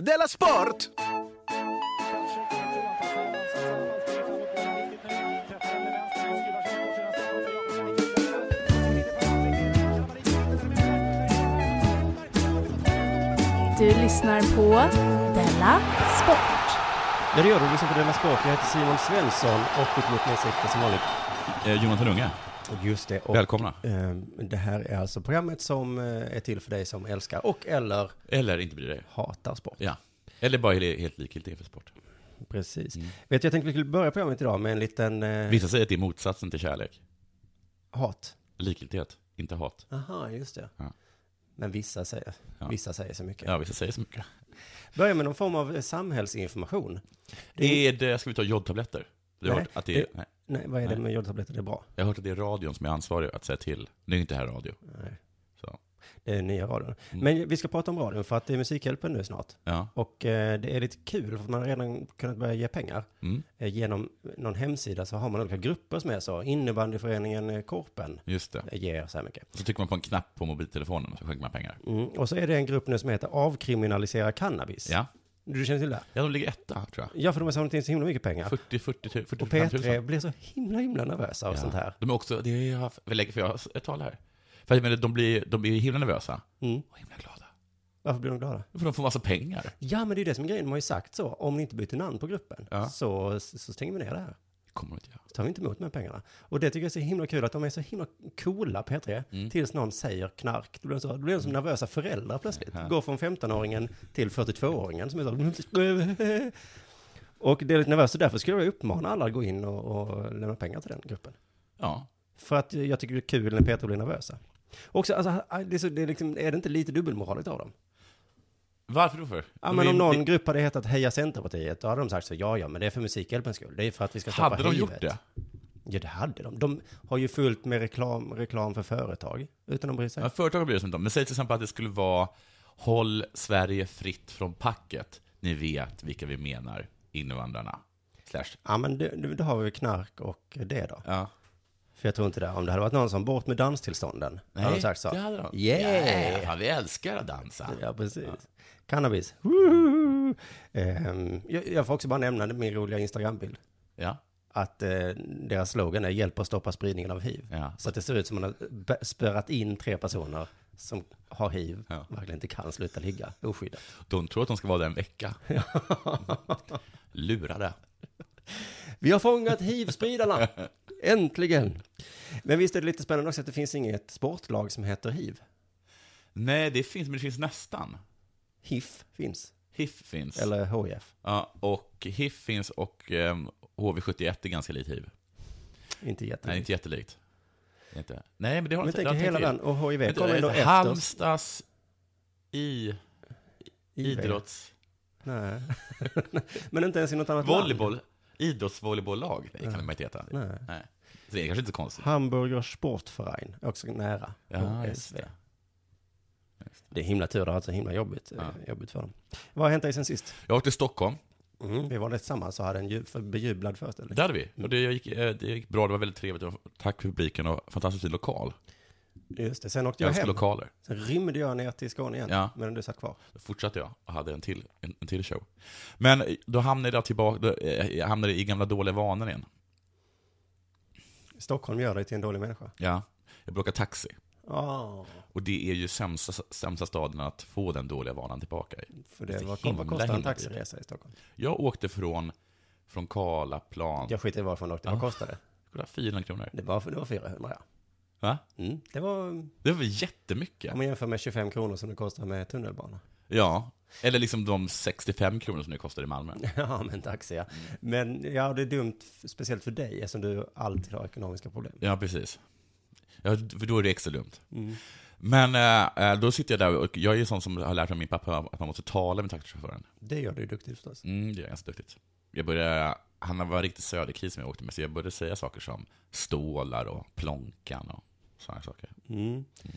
Della Sport! Du lyssnar på Della Sport. Ja, det gör du. Lyssna på Della Sport. Jag heter Simon Svensson och mitt emot mig sitter som vanligt. Eh, Jonathan Unge, Just det. Och, välkomna. ehm, det här är alltså programmet som eh, är till för dig som älskar och eller Eller inte bryr dig. hatar sport. Ja. Eller bara helt, helt likgiltig för sport. Precis. Vet du, jag tänkte vi skulle börja programmet idag med en liten eh, Vissa säger att det är motsatsen till kärlek. hat. Likgiltighet, inte hat. Aha, just det. Ja. Men vissa säger, Ja. vissa säger så mycket. Ja, vissa säger så mycket. Börja med någon form av eh, samhällsinformation. Är det, ska vi ta jodtabletter? Du har Nej, hört att det är, det- nej. Nej, vad är det Nej. med jodtabletter? Det är bra. Jag har hört att det är radion som är ansvarig att säga till. Nu är inte här radio. Nej. Så. Det är nya radion. Mm. Men vi ska prata om radion för att det är Musikhjälpen nu snart. Ja. Och eh, det är lite kul för att man har redan kunnat börja ge pengar. Mm. Eh, genom någon hemsida så har man olika grupper som är så. Innebandyföreningen eh, Korpen Just det. eh, ger så här mycket. Så trycker man på en knapp på mobiltelefonen och så skänker man pengar. Mm. Och så är det en grupp nu som heter Avkriminalisera cannabis. Ja, Du känner till det? ja de ligger etta tror jag. Ja, för de har samlat in så himla mycket pengar. 40, 40, 40, 40 Och P3 blir så himla, himla nervösa av Ja. sånt här. De är också, det är, jag har- jag lägger- för jag har ett tal här. För jag menar, de blir, de blir himla nervösa Mm. och himla glada. Varför blir de glada? För de får massa pengar. Ja, men det är ju det som är grejen. De har ju sagt så. Om ni inte byter namn på gruppen Ja. så, så stänger vi ner det här. Det kommer de inte göra. Så tar vi inte emot de här pengarna. Och det tycker jag är så himla kul att de är så himla coola P3 Mm. tills någon säger knark. Då blir de, så, då blir de som nervösa föräldrar plötsligt. Går från 15-åringen till 42-åringen som är så... Och det är lite nervöst, så därför skulle jag uppmana alla att gå in och, och lämna pengar till den gruppen. Ja, För att jag tycker det är kul när P3 blir nervösa. Också, alltså, det är, så, det är, liksom, är det inte lite dubbelmoraligt av dem? varför då för? Ja, De men är- om någon det- grupp hade hetat Heja Centerpartiet, då hade de sagt så, ja, ja, men det är för musikhjälpens skull, det är för att vi ska stoppa Hade de hivet. gjort det? Ja, det hade de. De har ju fullt med reklam, reklam för företag, utan att bry sig. Ja, företag bryr sig inte om. Men säg till exempel att det skulle vara Håll Sverige fritt från packet. Ni vet vilka vi menar, invandrarna. Slash. Ja, men det- det- då har vi väl knark och det då. Ja. För jag tror inte det. Om det hade varit någon som, bort med danstillstånden, hade de sagt så. det hade de. Yeah! Ja, vi älskar att dansa. Ja, precis. Cannabis. Mm. Woohoo! Ehm, jag, jag får också bara nämna min roliga Instagrambild. Ja, Att eh, deras slogan är hjälp att stoppa spridningen av hiv. ja. Så att det ser ut som man har b- spärrat in tre personer som har hiv, Ja. verkligen inte kan sluta ligga oskyddat. De tror att de ska vara där en vecka. Lurade. Vi har fångat hivspridarna! Äntligen! Men visst är det lite spännande också att det finns inget sportlag som heter hiv. Nej, det finns, men det finns nästan. HIF finns, HIF finns. eller HIF. Ja, och HIF finns och ehm, HV71 är ganska likt HIV. Inte jätte. Nej, inte jättelikt. Inte. Nej, men det har Men inte... tänk hela den, och HIV kommer ändå efter. Halmstads i IV. idrotts... Nej. Men inte ens i något annat land. Volleyboll. Idrottsvolleybollag. Det kan man inte heta. Nej. Nej. Så det är kanske inte så konstigt. Hamburger Sportverein, också nära. Ja, HSV. just det. Det är himla tur, det har varit så himla jobbigt, eh, Ja. jobbigt för dem. Vad har hänt dig sen sist? Jag åkte till Stockholm. Mm, vi var där tillsammans och hade en ju- för- bejublad föreställning. Där hade vi. Och det gick, eh, det gick bra. Det var väldigt trevligt. Det var- Tack för publiken och fantastiskt fin lokal. Just det, sen åkte Jag jag älskar hem. lokaler. Sen rymde jag ner till Skåne igen, Ja. medan du satt kvar. Då fortsatte jag och hade en till, en, en till show. Men då hamnade jag tillbaka, då, eh, jag hamnade i gamla dåliga vanor igen. Stockholm gör dig till en dålig människa. Ja. Jag brukar taxi. Ja, Och det är ju sämsta, sämsta staden att få den dåliga vanan tillbaka i. för Det det, är var, himla, vad kostar en himla taxiresa i Stockholm? Jag åkte från, från Karlaplan. Jag skiter i varifrån du åkte, vad Ah. kostade det? Det var 400 kronor. Det var, det var 400 Va? ja. Mm. Det var, Det var jättemycket. om man jämför med 25 kronor som det kostar med tunnelbana. Ja. Eller liksom de 65 kronor som det kostar i Malmö. Ja, men taxi ja. Men ja, det är dumt, f- speciellt för dig, eftersom du alltid har ekonomiska problem. Ja, precis. Ja, för då är det extra dumt. Men eh, eh, då sitter jag där och jag är ju sån som har lärt av min pappa att man måste tala med taxichauffören. Det gör du ju duktigt förstås. Mm, det är ganska duktigt. Jag började, han var riktigt söderkris som jag åkte med, så jag började säga saker som stålar och plånkan och sådana saker. Mm. I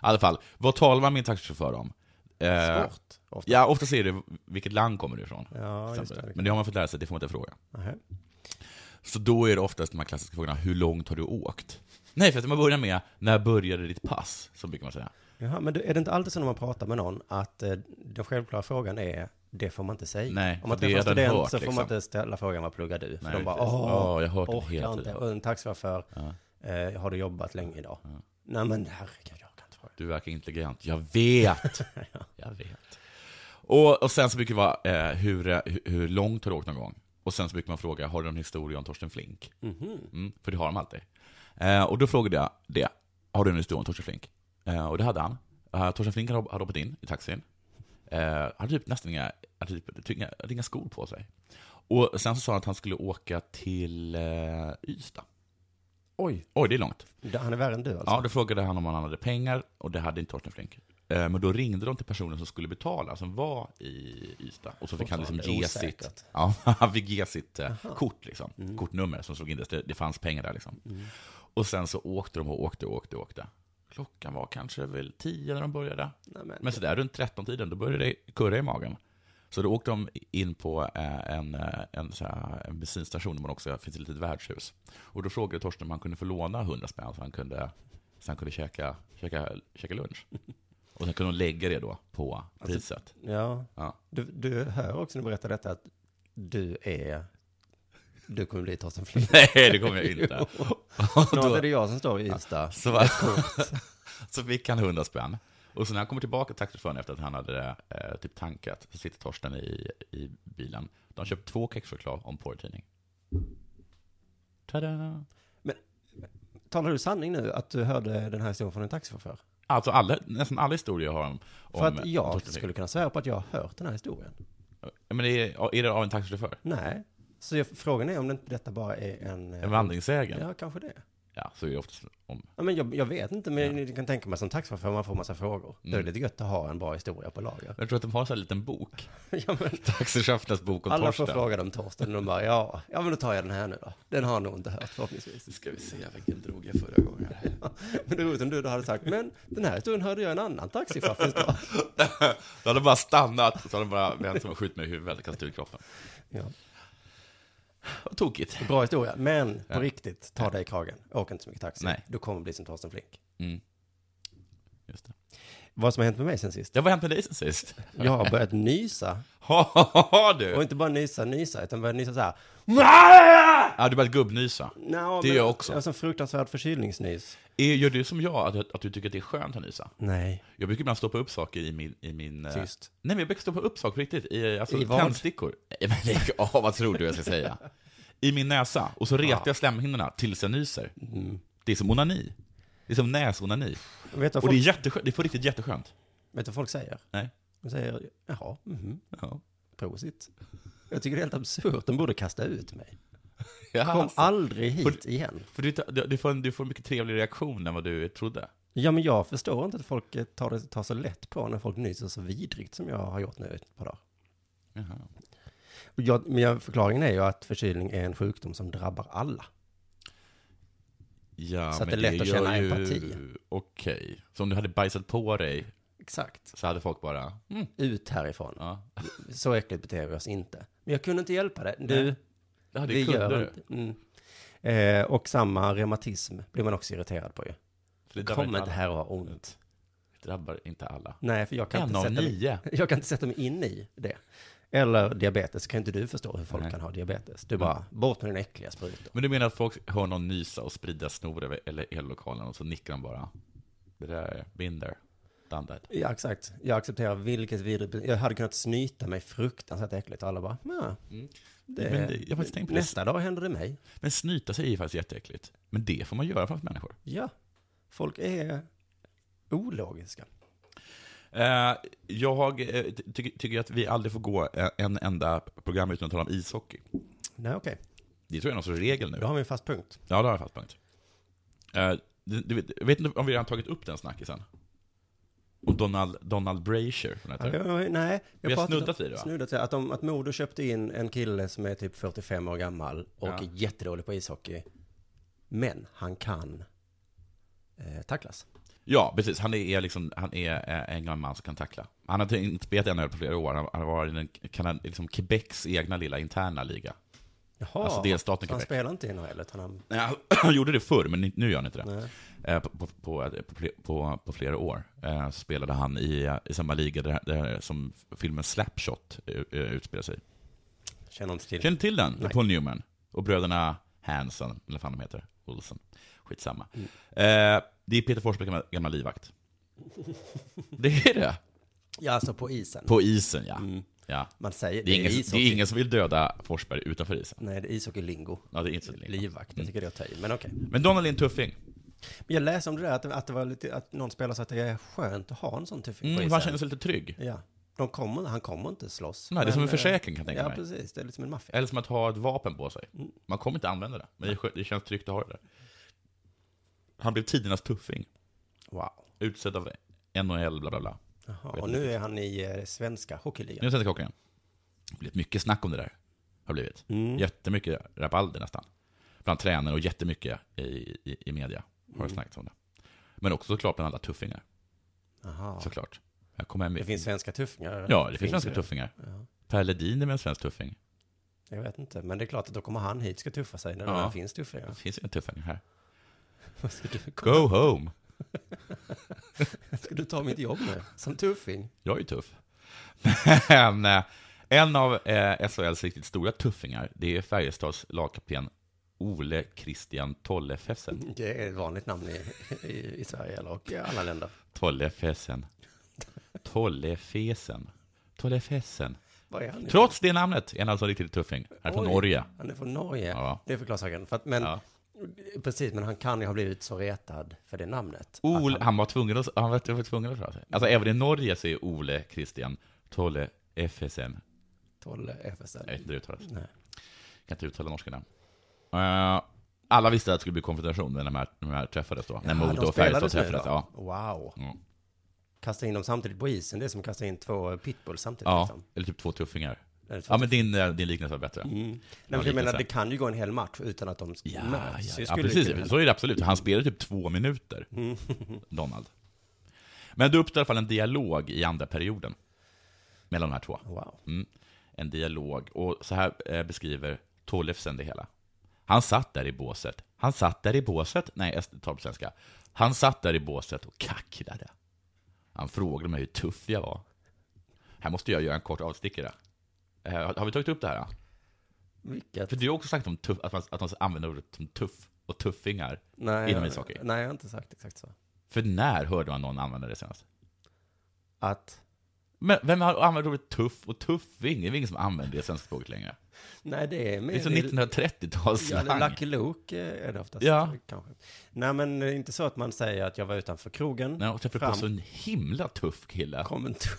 alla fall, vad talar man med min taxichaufför om? Eh, Sport, ofta. Ja, ofta säger det vilket land kommer du ifrån. Ja, till just exempel. det. Men det har man fått lära sig, det får man inte fråga. Nähä. Så då är det oftast de här klassiska frågorna, hur långt har du åkt? Nej, för att man börjar med, när började ditt pass? Så brukar man säga. Jaha, men det- är det inte alltid så när man pratar med någon att eh, den självklara frågan är det får man inte säga? Nej, Om man för det träffar en har den student hört, så får liksom. man inte ställa frågan vad pluggar du? För Nej, de bara precis. åh, Åh, jag har hört det hela orkar inte. tiden. Och en taxichaufför, Ja. eh, har du jobbat länge idag? Ja. Nej men herregud, jag kan inte fråga. Du verkar intelligent. Jag vet! Jag vet. Och, och sen så brukar det vara, eh, hur, eh, hur- hur långt har du åkt någon gång? Och sen så brukar man fråga, har du någon historia om Torsten Flink? Mhm. Mm, för det har de alltid. Eh, och då frågade jag det, har du en historia om Torsten Flink? Eh, och det hade han. Eh, Torsten Flink hade hade hoppat in i taxin. Eh, han hade typ nästan inga, hade typ, inga, hade inga skor på sig. Och sen så sa han att han skulle åka till eh, Ystad. Oj, Oj, det är långt. han är värre än du alltså? Ja, då frågade han om han hade pengar och det hade inte Torsten Flink. Eh, Men då ringde de till personen som skulle betala, som var i Ystad. Och så fick han liksom Fortfarande ge osäkert. sitt, ja, han fick ge sitt eh, kort, liksom. Mm. kortnummer som slog in det. Det fanns pengar där. Liksom. Och sen så åkte de och åkte och åkte och åkte. Klockan var kanske väl tio när de började. Nej, men, Men sådär runt 13-tiden, då började det kurra i magen. Så då åkte de in på eh, en, eh, en, så här, en bensinstation där man också finns ett litet värdshus. Och då frågade Torsten om han kunde få låna 100 spänn så han kunde, så han kunde käka, käka, käka lunch. Och sen kunde de lägga det då på priset. ja. Ja. Du, du hör också när du berättar detta att du är, du kommer bli Torsten Flink. Nej, det kommer jag inte. Snart är det jag som står i Ystad. Så, va- så fick han 100 spänn. Och så när han kommer tillbaka till taxichauffören efter att han hade eh, typ tankat, så sitter Torsten i, i bilen. De har köpt två kexchoklad och en porrtidning. Tada! Talar du sanning nu att du hörde den här historien från en taxichaufför? Alltså alla, nästan alla historier har om... om För att jag Torsten skulle kunna svära på att jag har hört den här historien. Ja, Men är, är det av en taxichaufför? Nej. Så jag, frågan är om det inte detta bara är en... eh, En vandringssägen? Ja. Ja, kanske det. så är det oftast om... Ja, men jag, jag vet inte, men ni kan tänka mig som taxichaufför, man får massa frågor. Då är Mm. det lite gött att ha en bra historia på lager. Jag tror att de har så här en liten bok. ja, men, Taxichaufförernas bok om alla får Torsten. fråga dem Torsten och de bara, ja, ja men då tar jag den här nu då. Den har jag nog inte hört förhoppningsvis. Nu ska vi se, vilken drog jag förra gången? Men det är roligt om du då hade sagt, men den här historien hörde jag en annan taxichaufför ta. Då hade de bara stannat, och så hade de bara vänt sig och skjutit mig i huvudet och kastat ut kroppen. Ja. Vad tokigt. Bra historia, men på riktigt, ta dig i kragen. Åk inte så mycket taxi. Nej. Du kommer bli som Torsten Flink. Mm. Just det. Vad som har hänt med mig sen sist? Ja, vad har hänt med dig sen sist? Jag har börjat nysa. Har Och du? inte bara nysa, nysa, utan börjat nysa så här. Ja, du började gubbnysa. No, Det gör jag också. Jag har sån fruktansvärd förkylningsnys. Är- Gör du som jag, att, att du tycker att det är skönt att nysa? Nej, Jag brukar ibland stoppa upp saker i min... I min eh, tyst. Nej, men jag brukar stoppa upp saker på riktigt. I, alltså, I vad? tändstickor. Nej, men lägg av, vad tror du jag ska säga? I min näsa. Och så retar jag slemhinnorna tills jag nyser. Det är som onani. Det är som näsonani. Vet du vad Och det är folk, jätteskönt. Det är på riktigt jätteskönt. vet du vad folk säger? Nej. De säger, jaha, mhm, Ja. prosit. Jag tycker det är helt absurt, de borde kasta ut mig. Ja, Kom alltså. aldrig hit igen. För du, du, du, får en, du får en mycket trevlig reaktion än vad du trodde. Ja, men jag förstår inte att folk eh, tar, det, tar så lätt på när folk nyser så vidrigt som jag har gjort nu ett par dagar. Jaha. Och Jag, men jag, förklaringen är ju att förkylning är en sjukdom som drabbar alla. Ja, Så att men det är lätt att gör känna ju- empati. Okej. Så om du hade bajsat på dig Exakt. så hade folk bara... Mm. Ut härifrån. Ja. Så äckligt beter vi oss inte. Men jag kunde inte hjälpa det. Du, Det hade det ju kunder. gör inte. Mm. Eh, och samma reumatism blir man också irriterad på ju. För det drabbar Kom inte alla. här och ha ont. Det drabbar inte alla. Nej, för jag kan, En inte av sätta mig, nio. jag kan inte sätta mig in i det. Eller diabetes, kan inte du förstå hur folk Nej. kan ha diabetes? Du bara, bort med dina äckliga sprutor. Men du menar att folk hör någon nysa och sprida snor över eller hela lokalen och så nickar de bara? Det där är binder. Done Ja, exakt. Jag accepterar vilket vidrigt... Jag hade kunnat snyta mig fruktansvärt äckligt och alla bara, ja, det, men det, jag har faktiskt tänkt på det. nästa dag händer det mig. Men snyta sig är ju faktiskt jätteäckligt. Men det får man göra framför människor. Ja, folk är ologiska. Eh, jag eh, ty- tycker tycker att vi aldrig får gå eh, en enda program utan att tala om ishockey. Nej, okej. Det tror jag är någon sorts regel nu. Då har vi en fast punkt. Ja, det har jag fast punkt. Eh, du, du vet, jag vet inte om vi redan tagit upp den snackisen? Om Donald, Donald Brasher, som heter. Jag- Nej, Vi har pratade- snuddat vid det, va? Snuddat vid det. Att, de, att Modo köpte in en kille som är typ 45 år gammal och Ja. är jättedålig på ishockey. Men han kan eh, tacklas. Ja, precis. Han är, liksom, han är eh, en gammal man som kan tackla. Han har inte spelat NHL på flera år. Han, han var i den, kan han, liksom Quebecs egna lilla interna liga. Jaha, Alltså delstaten så han Quebec. spelar inte i NHL utan han... Nej, han- han gjorde det förr, men nu gör han inte det. Nej. Eh, På, på, på, på, på, på flera år eh, spelade han i, eh, i samma liga där, där, som filmen Slapshot eh, eh, utspelar sig. Känner inte till. Känner du till den? Nej. Paul Newman och bröderna Hanson, eller vad fan de heter, Olsen. Skitsamma. Mm. Eh, det är Peter Forsbergs gamla, gamla livvakt. Det är det. Ja, alltså på isen. På isen, ja. Mm. ja. Man säger... Det, är ingen, det ishockey. är ingen som vill döda Forsberg utanför isen. Nej, det är ishockey-lingo. Ja, det är inte så länge. Livvakt, jag tycker det är att ta i, men okej. Men Donald är en tuffing. Men jag läste om det där, att, att det var lite, att någon spelare sa att det är skönt att ha en sån tuffing på Mm, isen. han känner sig lite trygg. Ja. De kommer, han kommer inte slåss. Nej, det är som Men, en försäkring kan jag eh, tänka Ja, mig. precis. Det är lite som en maffia. Eller som att ha ett vapen på sig. Mm. Man kommer inte använda det, men det, är skö- det känns tryggt att ha det där. Han blev tidernas tuffing. Wow. Utsedd av NHL, bla bla bla. Jaha, Vet och inte. nu är han i eh, svenska Nu hockeyligan. är Svenska Kocken. Det har blivit mycket snack om det där. Har blivit. Mm. Jättemycket rabalder nästan. Bland tränare och jättemycket i, i, i media har det Mm. snackats om det. Men också såklart bland alla tuffingar. Jaha. Såklart. Jag kommer hem Det finns svenska tuffingar. Ja, det finns ju svenska det. tuffingar. Ja, Per Ledin är väl en svensk tuffing? jag vet inte, men det är klart att då kommer han hit ska tuffa sig när det Ja. redan finns tuffingar. Det finns ingen tuffing här. Vad Ska du, Go home! ska du ta mitt jobb nu? Som tuffing? Jag är ju tuff. Men eh, en av eh, SHLs riktigt stora tuffingar, det är Färjestads lagkapten Ole Christian Tollefessen. Det är ett vanligt namn i, i, i Sverige eller och i alla länder. Tollefessen. Tollefesen. Tollefessen. Vad är han? nu? Trots det namnet är han alltså en riktigt tuffing. Han är från Oj. Norge. Han är från Norge. Ja. Det förklarar saken. För att, men, Ja. Precis, men han kan ju ha blivit så retad för det namnet. Ole, Att han var tvungen att, han var, han var tvungen att förklara sig. Alltså även i Norge så är Ole Christian Tollefesen. Tolle Jag vet FSL. inte hur det uttalas. Nej. Jag kan inte uttala norska namn. Eh, alla visste att det skulle bli konfrontation när de här, när de här träffades då. när Jaha, Modo de och Färjestad spelades nu träffades. då? Ja. Wow. Mm. Kasta in dem samtidigt på isen, det är som att kasta in två pitbulls samtidigt. ja, Liksom. eller typ två tuffingar. Eller två- Ja, men din, eh, din liknelse var bättre. Mm. Nej, Ja, men jag menar, liknelse. det kan ju gå en hel match utan att de Ja, ja, möts. Det skulle ju ja kunna precis. hända. Så är det absolut. Han spelar typ två minuter, Mm. Donald. Men det uppstår i alla fall en dialog i andra perioden mellan de här två. Wow. Mm. En dialog. Och så här eh, beskriver Tollefsen det hela. Han satt där i båset. Han satt där i båset. Nej, jag tar på svenska. Han satt där i båset och kacklade. Han frågade mig hur tuff jag var. Här måste jag göra en kort avstickare. Eh, har har vi tagit upp det här? Då? Vilket? För du har också sagt om tuff, att, man, att man använder ordet som tuff och tuffingar. Nej, Inom jag- ishockey. Nej, jag har inte sagt exakt så. För när hörde man någon använda det senast? Att, Men vem har använt ordet tuff och tuffing? Det är väl ingen som använder det i svenska språket längre. nej det är mer... Det är som Ja, 1930-talsslang. eller Lucky Luke eh, är det oftast. Ja. Kanske. Nej, men eh, inte så att man säger att jag var utanför krogen. Nej, och träffade Fram. på så en himla tuff kille Kom en tu-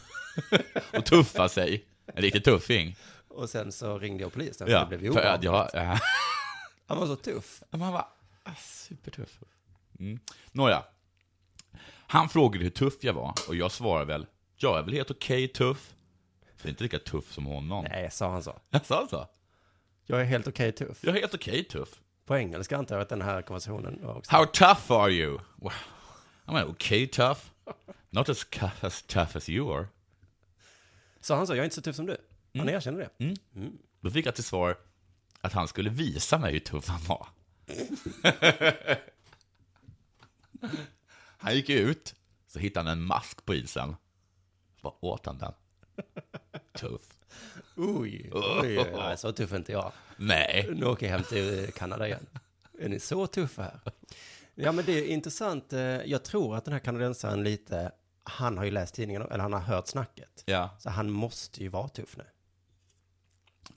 och tuffa sig. En riktig tuffing. Och sen så ringde jag polisen, för det Ja, blev ju för att obehagligt. jag... Äh, Han var så tuff. man var ah, supertuff. Mm. Nåja. Han frågade hur tuff jag var och jag svarade väl, jag är väl helt okej tuff. För det är inte lika tuff som honom. Nej, sa han så. Jag sa så. Jag är helt okej tuff. Jag är helt okej tuff. På engelska antar jag att den här konversationen var också. How tough are you? Well, I'm okay tough. Not as, cu- as tough as you are. Så han sa, jag är inte så tuff som du. Han Mm. erkände det. Då fick jag till svar att han skulle visa mig hur tuff han var. han gick ut, så hittade han en mask på isen. Vad åt han den? Tuff. Oj, oj, oj, nej, så tuff är inte jag. Nej. Nu åker jag hem till eh, Kanada igen. Är ni så tuffa här? Ja, men det är intressant. Eh, Jag tror att den här kanadensaren lite, han har ju läst tidningen, eller han har hört snacket. Ja. Så han måste ju vara tuff nu.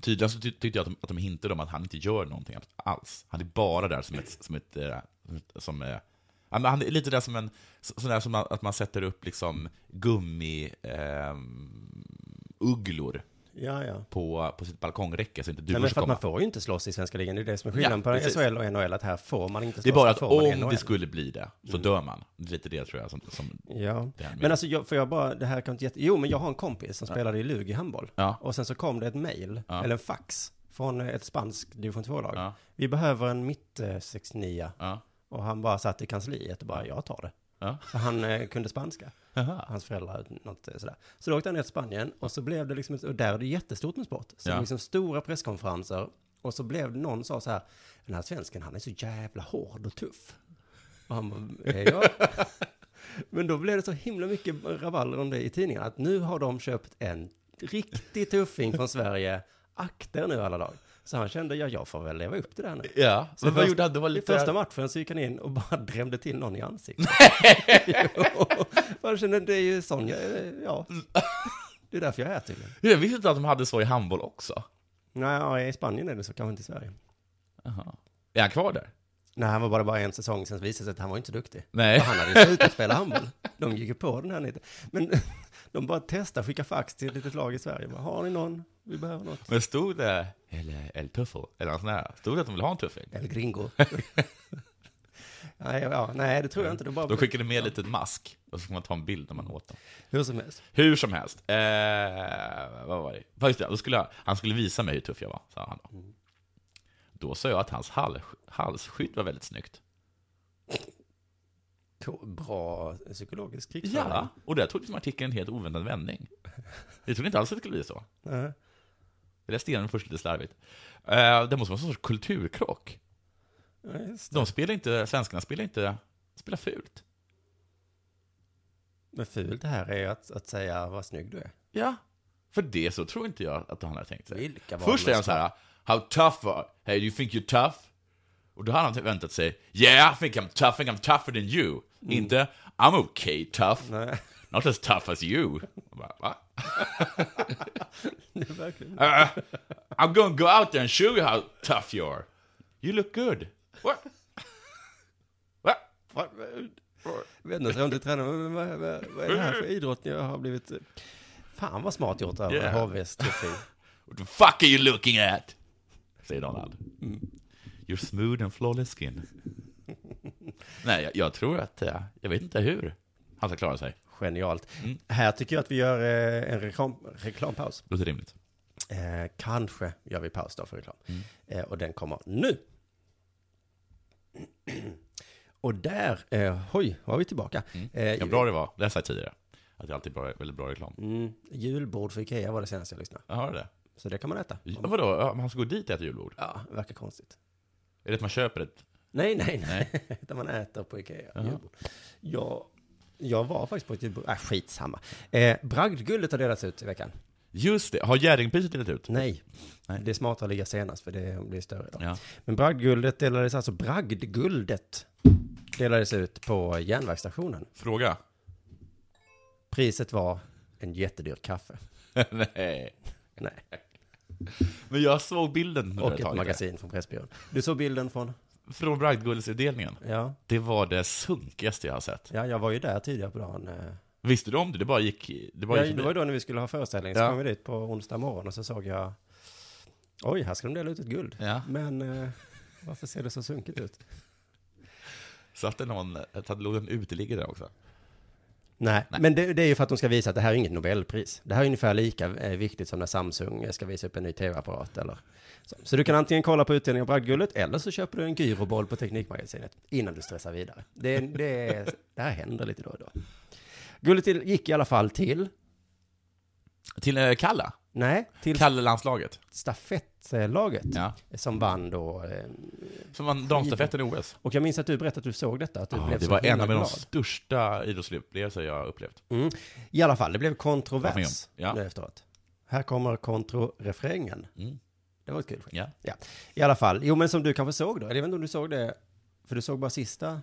Tydligen så ty- tyckte jag att de, att de hintade om att han inte gör någonting alls. Han är bara där som ett... Som ett eh, som, eh, ja, men han är lite där som en... så- Sån där som man- att man sätter upp liksom gummi... ehm, ugglor Ja, ja. på, på sitt balkongräcke så inte Nej, men du ska för att komma. man får ju inte slåss i svenska ligan. Det är det som är skillnaden Ja, på precis. SHL och NHL, att här får man inte slåss. Det är bara här att får man i om NHL. det skulle bli det, så Mm. dör man. Det är lite det tror jag som... som Ja, det här med- men alltså, jag, för jag bara, det här kan inte jätte... Jo, men jag har en kompis som spelade i Lug i handboll. Ja. Och sen så kom det ett mail, Ja. eller en fax, från ett spanskt division 2-lag. Ja. Vi behöver en mitt eh, 69 ja. Och han bara satt i kansliet och bara, jag tar det. Ja. För han eh, kunde spanska. Aha. Hans föräldrar, något eh, sådär. Så då åkte han ner till Spanien och så blev det liksom, ett- och där är det jättestort med sport. Så Ja. liksom stora presskonferenser Och så blev det någon sa så här, den här svensken han är så jävla hård och tuff. Och han bara, är jag? Men då blev det så himla mycket rabalder om det i tidningen. Att nu har de köpt en riktig tuffing från Sverige. Akta er nu alla dagar. Så han kände, ja jag får väl leva upp till det här nu. Ja, Så men vad först- gjorde han? Det var I lite... första matchen så gick han in och bara drämde till någon i ansiktet. Jo. Han kände, det är ju sån, jag- ja. Det är därför jag är tydligen. Jag visste inte att de hade så i handboll också. Nej, ja, i Spanien är det så, kanske inte i Sverige. Aha. Är han kvar där? Nej, han var bara, bara en säsong, sen visade det sig att han var inte så duktig. Nej. Och han hade ju slutat spela handboll. De gick ju på den här lite. Men de bara testade, skicka fax till ett litet lag i Sverige. Bara, har ni någon? Vi behöver något. Men stod det, eller El Tuffo, eller något sånt där, stod det att de ville ha en tuffing? Eller gringo. nej, ja, nej, det tror jag inte. Det bara Då skickade de med lite mask, och så får man ta en bild när man åt den. Hur som helst. Hur som helst, eh, vad var det? Ja, Just det, då skulle jag, han skulle visa mig hur tuff jag var, sa han då. Mm. Då sa jag att hans hals, halsskydd var väldigt snyggt. Ko- Bra psykologisk krigsföring. Ja, och där tog liksom artikeln en helt oväntad vändning. Jag trodde inte alls att det skulle bli så. Nej. Jag läste igenom den först lite slarvigt. Eh, det måste vara en sorts kulturkrock. Ja, just det. De spelar inte, svenskarna spelar inte, spelar fult. Men fult det här är ju att, att säga vad snygg du är. Ja. För det så tror inte jag att han har tänkt sig. Vilka var Först är han mest- så här, how tough are, hey you think you're tough? Och då har han väntat sig, yeah I think I'm tough, I think I'm tougher than you. Inte, I'm okay tough, Nej, not as tough as you. Jag Bara, Va? det är verkligen. Uh, I'm gonna go out there and show you how tough you are. You look good. What? What? What? Vänder sig om till tränaren. Men Vad, vad, vad är det här för idrott jag har blivit... Fan vad smart gjort av Yeah. yeah. HVs tuffing. What the fuck are you looking at? Säger Donald. Mm. You're smooth and flawless skin. Nej, jag, jag tror att, eh, jag vet inte hur han ska klara sig. Genialt. Mm. Här tycker jag att vi gör eh, en reklam, reklampaus. Låter rimligt. Eh, kanske gör vi paus då för reklam. Mm. Eh, och den kommer nu. och där, eh, oj, var vi tillbaka. Eh, Mm. Ja, bra det var. Det har jag sagt tidigare. Att det alltid är bra, väldigt bra reklam. Mm, julbord för Ikea var det senaste jag lyssnade. Jag hör det. Så det kan man äta. Ja, vadå? Ja, Man ska gå dit och äta julbord? Ja, det verkar konstigt. Är det att man köper ett? Nej, nej, nej. Utan man äter på Ikea. Julbord. Jag, jag var faktiskt på ett julbord. Äh, skitsamma. Eh, Bragdguldet har delats ut i veckan. Just det, har Jerringpriset delat ut? Nej. Nej. Det är smartare att ligga senast för det blir större idag. Ja. Men Bragdguldet delades alltså, Bragdguldet delades ut på järnvägsstationen. Fråga? Priset var en jättedyr kaffe. Nej. Nej. Men jag såg bilden. när du Och hade ett tagit magasin från Pressbyrån. Du såg bilden från? det. Från Bragdguldsutdelningen. Ja. Det var det sunkigaste jag har sett. ja, jag var ju där tidigare på dagen. eh. Visste du om det? Det bara gick... Det bara Ja, gick det var ju då när vi skulle ha föreställning, så Ja. kom vi dit på onsdag morgon och så såg jag, oj, här ska de dela ut ett guld. Ja. Men eh, varför ser det så sunkigt ut? Satt det någon... Satt låg en uteliggare där också? Nej, men det, det är ju för att de ska visa att det här är inget Nobelpris. Det här är ungefär lika eh, viktigt som när Samsung ska visa upp en ny tv-apparat eller så. Så du kan antingen kolla på utdelningen av Bragdguldet eller så köper du en gyroboll på Teknikmagasinet innan du stressar vidare. Det, är- det, är- det här händer lite då och då. Guldet till, gick i alla fall till, Till eh, Kalla? nej, till Kalle-landslaget? stafettlaget Ja. som vann då. eh, Som vann damstafetten i OS. Och jag minns att du berättade att du såg detta, att du Ja, blev Ah, det så var en himla av de glad. största idrottsupplevelser jag har upplevt. Mm. I alla fall, det blev Jag var med om. kontrovers Ja. nu efteråt. Här kommer kontrorefrängen. Mm. Det var ett kul skämt. Ja. Ja. I alla fall, jo men som du kanske såg då, eller jag vet inte om du såg det, för du såg bara sista.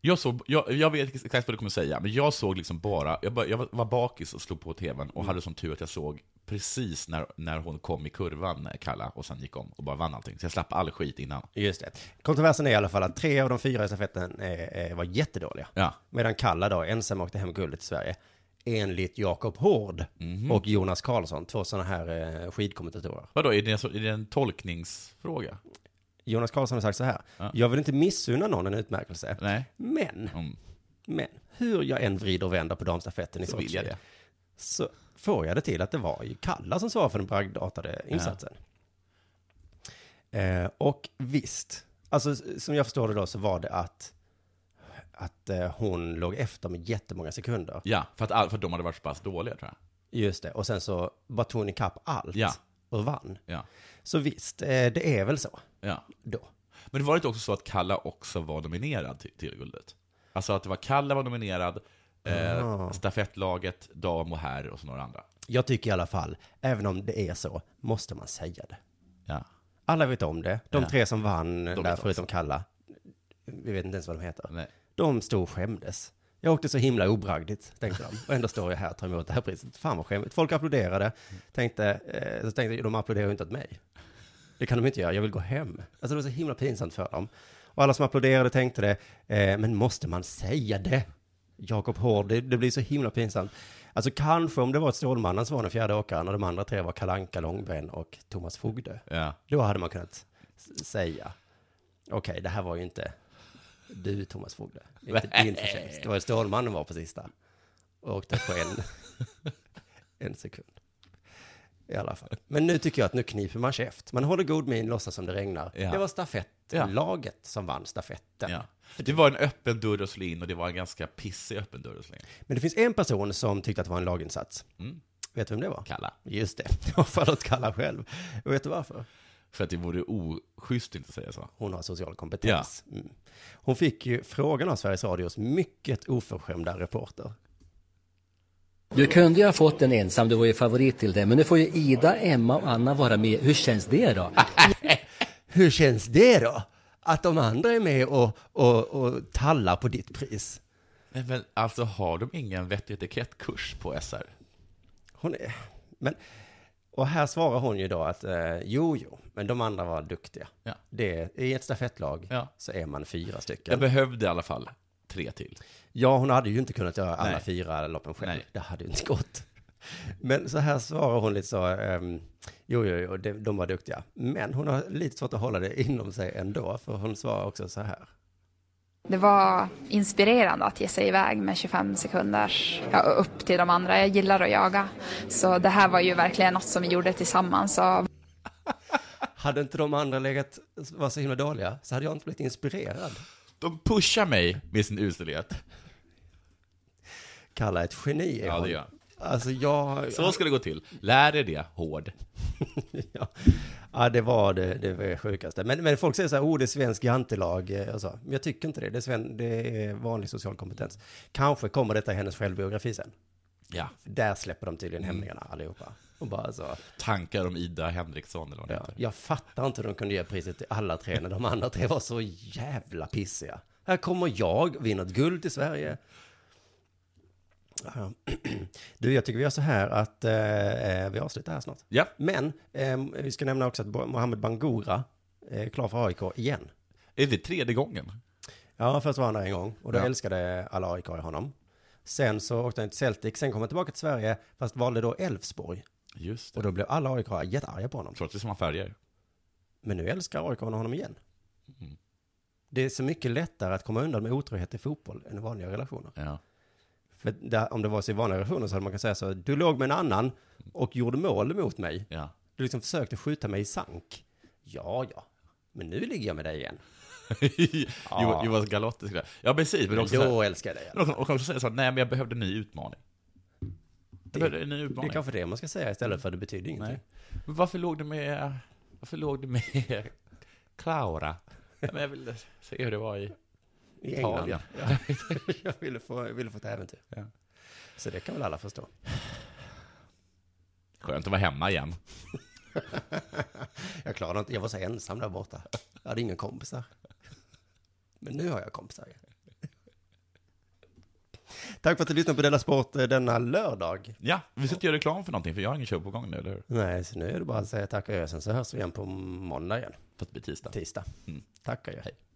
Jag, såg, jag, jag vet exakt vad du kommer säga, men jag såg liksom bara, jag, bara, jag var- var bakis och slog på tvn och hade som tur att jag såg precis när, när hon kom i kurvan, eh, Kalla, och sen gick om och bara vann allting. Så jag slapp all skit innan. Just det. Kontroversen är i alla fall att tre av de fyra i stafetten eh, eh, var jättedåliga. Ja, Medan Kalla då ensam åkte hem guldet till Sverige. Enligt Jakob Hård Mhm. och Jonas Karlsson, två sådana här eh, skidkommentatorer. vadå, är det, en så- är det en tolkningsfråga? Jonas Karlsson har sagt så här, Ja. jag vill inte missunna någon en utmärkelse, Nej? men Mm. Men hur jag än vrider och vänder på damstafetten i Så vill Sochi jag det. så får jag det till att det var ju Kalla som svarade för den bragdartade insatsen. Eh, och visst, alltså s- som jag förstår det då så var det att, att eh, hon låg efter med jättemånga sekunder. Ja, för att, all, för att de hade varit så pass dåliga tror jag. Just det, och sen så bara tog hon ikapp allt. Ja. och vann. Ja. Så visst, eh, det är väl så Ja. då. Men det var inte också så att Kalla också var nominerad till, till guldet? Alltså att det var Kalla var nominerad, eh, stafettlaget, dam och herr och så några andra. Jag tycker i alla fall, även om det är så, måste man säga det. Ja. Alla vet om det. De Ja. tre som vann där, vet förutom Kalla, vi vet inte ens vad de heter. Nej. De stod och skämdes. Jag åkte så himla obragdigt, tänkte de. Och ändå står jag här och tar emot det här priset. Fan vad skämmigt. Folk applåderade. Tänkte, eh, så tänkte jag, de applåderar ju inte åt mig. Det kan de inte göra, jag vill gå hem. Alltså det var så himla pinsamt för dem. Och alla som applåderade tänkte det, eh, men måste man säga det? Jakob Hård, det, det blir så himla pinsamt. Alltså kanske om det var ett Stålmannen som var den fjärde åkaren och de andra tre var Kalanka Långben och Thomas Fogde. Ja. Då hade man kunnat s- säga, okej, det här var ju inte du Thomas Fogde, Det är inte din förtjänst. Det var ju Stålmannen var på sista. Och åkte på en, en sekund. I alla fall. Men nu tycker jag att nu kniper man käft. Man håller god min, låtsas som det regnar. Ja. Det var stafettlaget som vann stafetten. Ja. Det var en öppen dörr att slå in och det var en ganska pissig öppen dörr att slå in. Men det finns en person som tyckte att det var en laginsats. Mm. Vet du vem det var? Kalla. Just det, det var Charlotte Kalla själv. Och vet du varför? För att det vore oschysst att inte säga så. hon har social kompetens. Mm. Hon fick ju frågan av Sveriges Radios mycket oförskämda reporter. Du kunde ju ha fått den ensam, du var ju favorit till det. Men nu får ju Ida, Emma och Anna vara med. Hur känns det då? Hur känns det då? Att de andra är med och, och, och tallar på ditt pris. Men, men alltså har de ingen vettig etikettkurs på SR? Hon är... Men, och här svarar hon ju då att eh, jo, jo, men de andra var duktiga. Ja. Det, I ett stafettlag Ja. så är man fyra stycken. Jag behövde i alla fall tre till. Ja, hon hade ju inte kunnat göra alla Nej. fyra loppen själv. Nej. Det hade ju inte gått. Men så här svarar hon lite så, ehm, jo, jo, jo, de, de var duktiga. Men hon har lite svårt att hålla det inom sig ändå, för hon svarar också så här. Det var inspirerande att ge sig iväg med 25 sekunders ja, upp till de andra. Jag gillar att jaga. Så det här var ju verkligen något som vi gjorde tillsammans. Så Hade inte de andra legat, var så himla dåliga, så hade jag inte blivit inspirerad. De pushar mig med sin uselhet. Kalla ett geni är Ja, hon. det gör jag. Alltså jag... Så ska det gå till. Lär er det, hård. ja. ja, det var det, det var det sjukaste. Men, men folk säger så här, oh, det är svensk jantelag. eh, Och så. Men jag tycker inte det. Det är, sven, det är vanlig social kompetens. Kanske kommer detta i hennes självbiografi sen. Ja. Där släpper de tydligen hämningarna allihopa. Och bara så, Tankar om Ida Henriksson eller vad det ja. heter. Jag fattar inte hur de kunde ge priset till alla tre när de andra tre var så jävla pissiga. Här kommer jag, vinner ett guld i Sverige. Ja. Du, jag tycker vi gör så här att eh, vi avslutar här snart. Ja, Men eh, vi ska nämna också att Bo- Mohamed Bangura eh, är klar för AIK igen. är det tredje gången? Ja, först var han där en gång och då Ja. älskade alla AIK honom. Sen så åkte han till Celtic, sen kom han tillbaka till Sverige, fast valde då Elfsborg. Just Och det. då blev alla AIK jättearga på honom. Trots att det är samma färger. Men nu älskar AIK honom igen. Det är så mycket lättare att komma undan med otrohet i fotboll än i vanliga relationer. Ja. För där, om det var så i vanliga relationer så hade man kunnat säga så, du låg med en annan och gjorde mål mot mig. ja. Du liksom försökte skjuta mig i sank. Ja, ja, men nu ligger jag med dig igen. Jo- Jonas Galotti skulle Ja, precis. Men också, så här, Då älskar jag dig. men också, och också säga så här, nej men jag behövde en ny utmaning. Jag behövde en ny Det utmaning. är kanske det man ska säga istället för det betyder ingenting. nej. Men varför låg du med, varför låg du med Clara? Ja, men jag ville se hur det var i I Italien. England. Jag ville få, jag ville få ett äventyr. Ja. Så det kan väl alla förstå. Skönt att vara hemma igen. Jag klarade inte, jag var så ensam där borta. Jag hade inga kompisar. Men nu har jag kompisar igen. Tack för att du lyssnade på Della Sport eh, denna lördag. Ja, vi ska inte göra reklam för någonting, för jag har ingen show på gång nu, eller hur? Nej, så nu är det bara att säga tack och hej. Sen så hörs vi igen på måndag igen, För att det blir tisdag. Mm. tisdag. Tack och hej.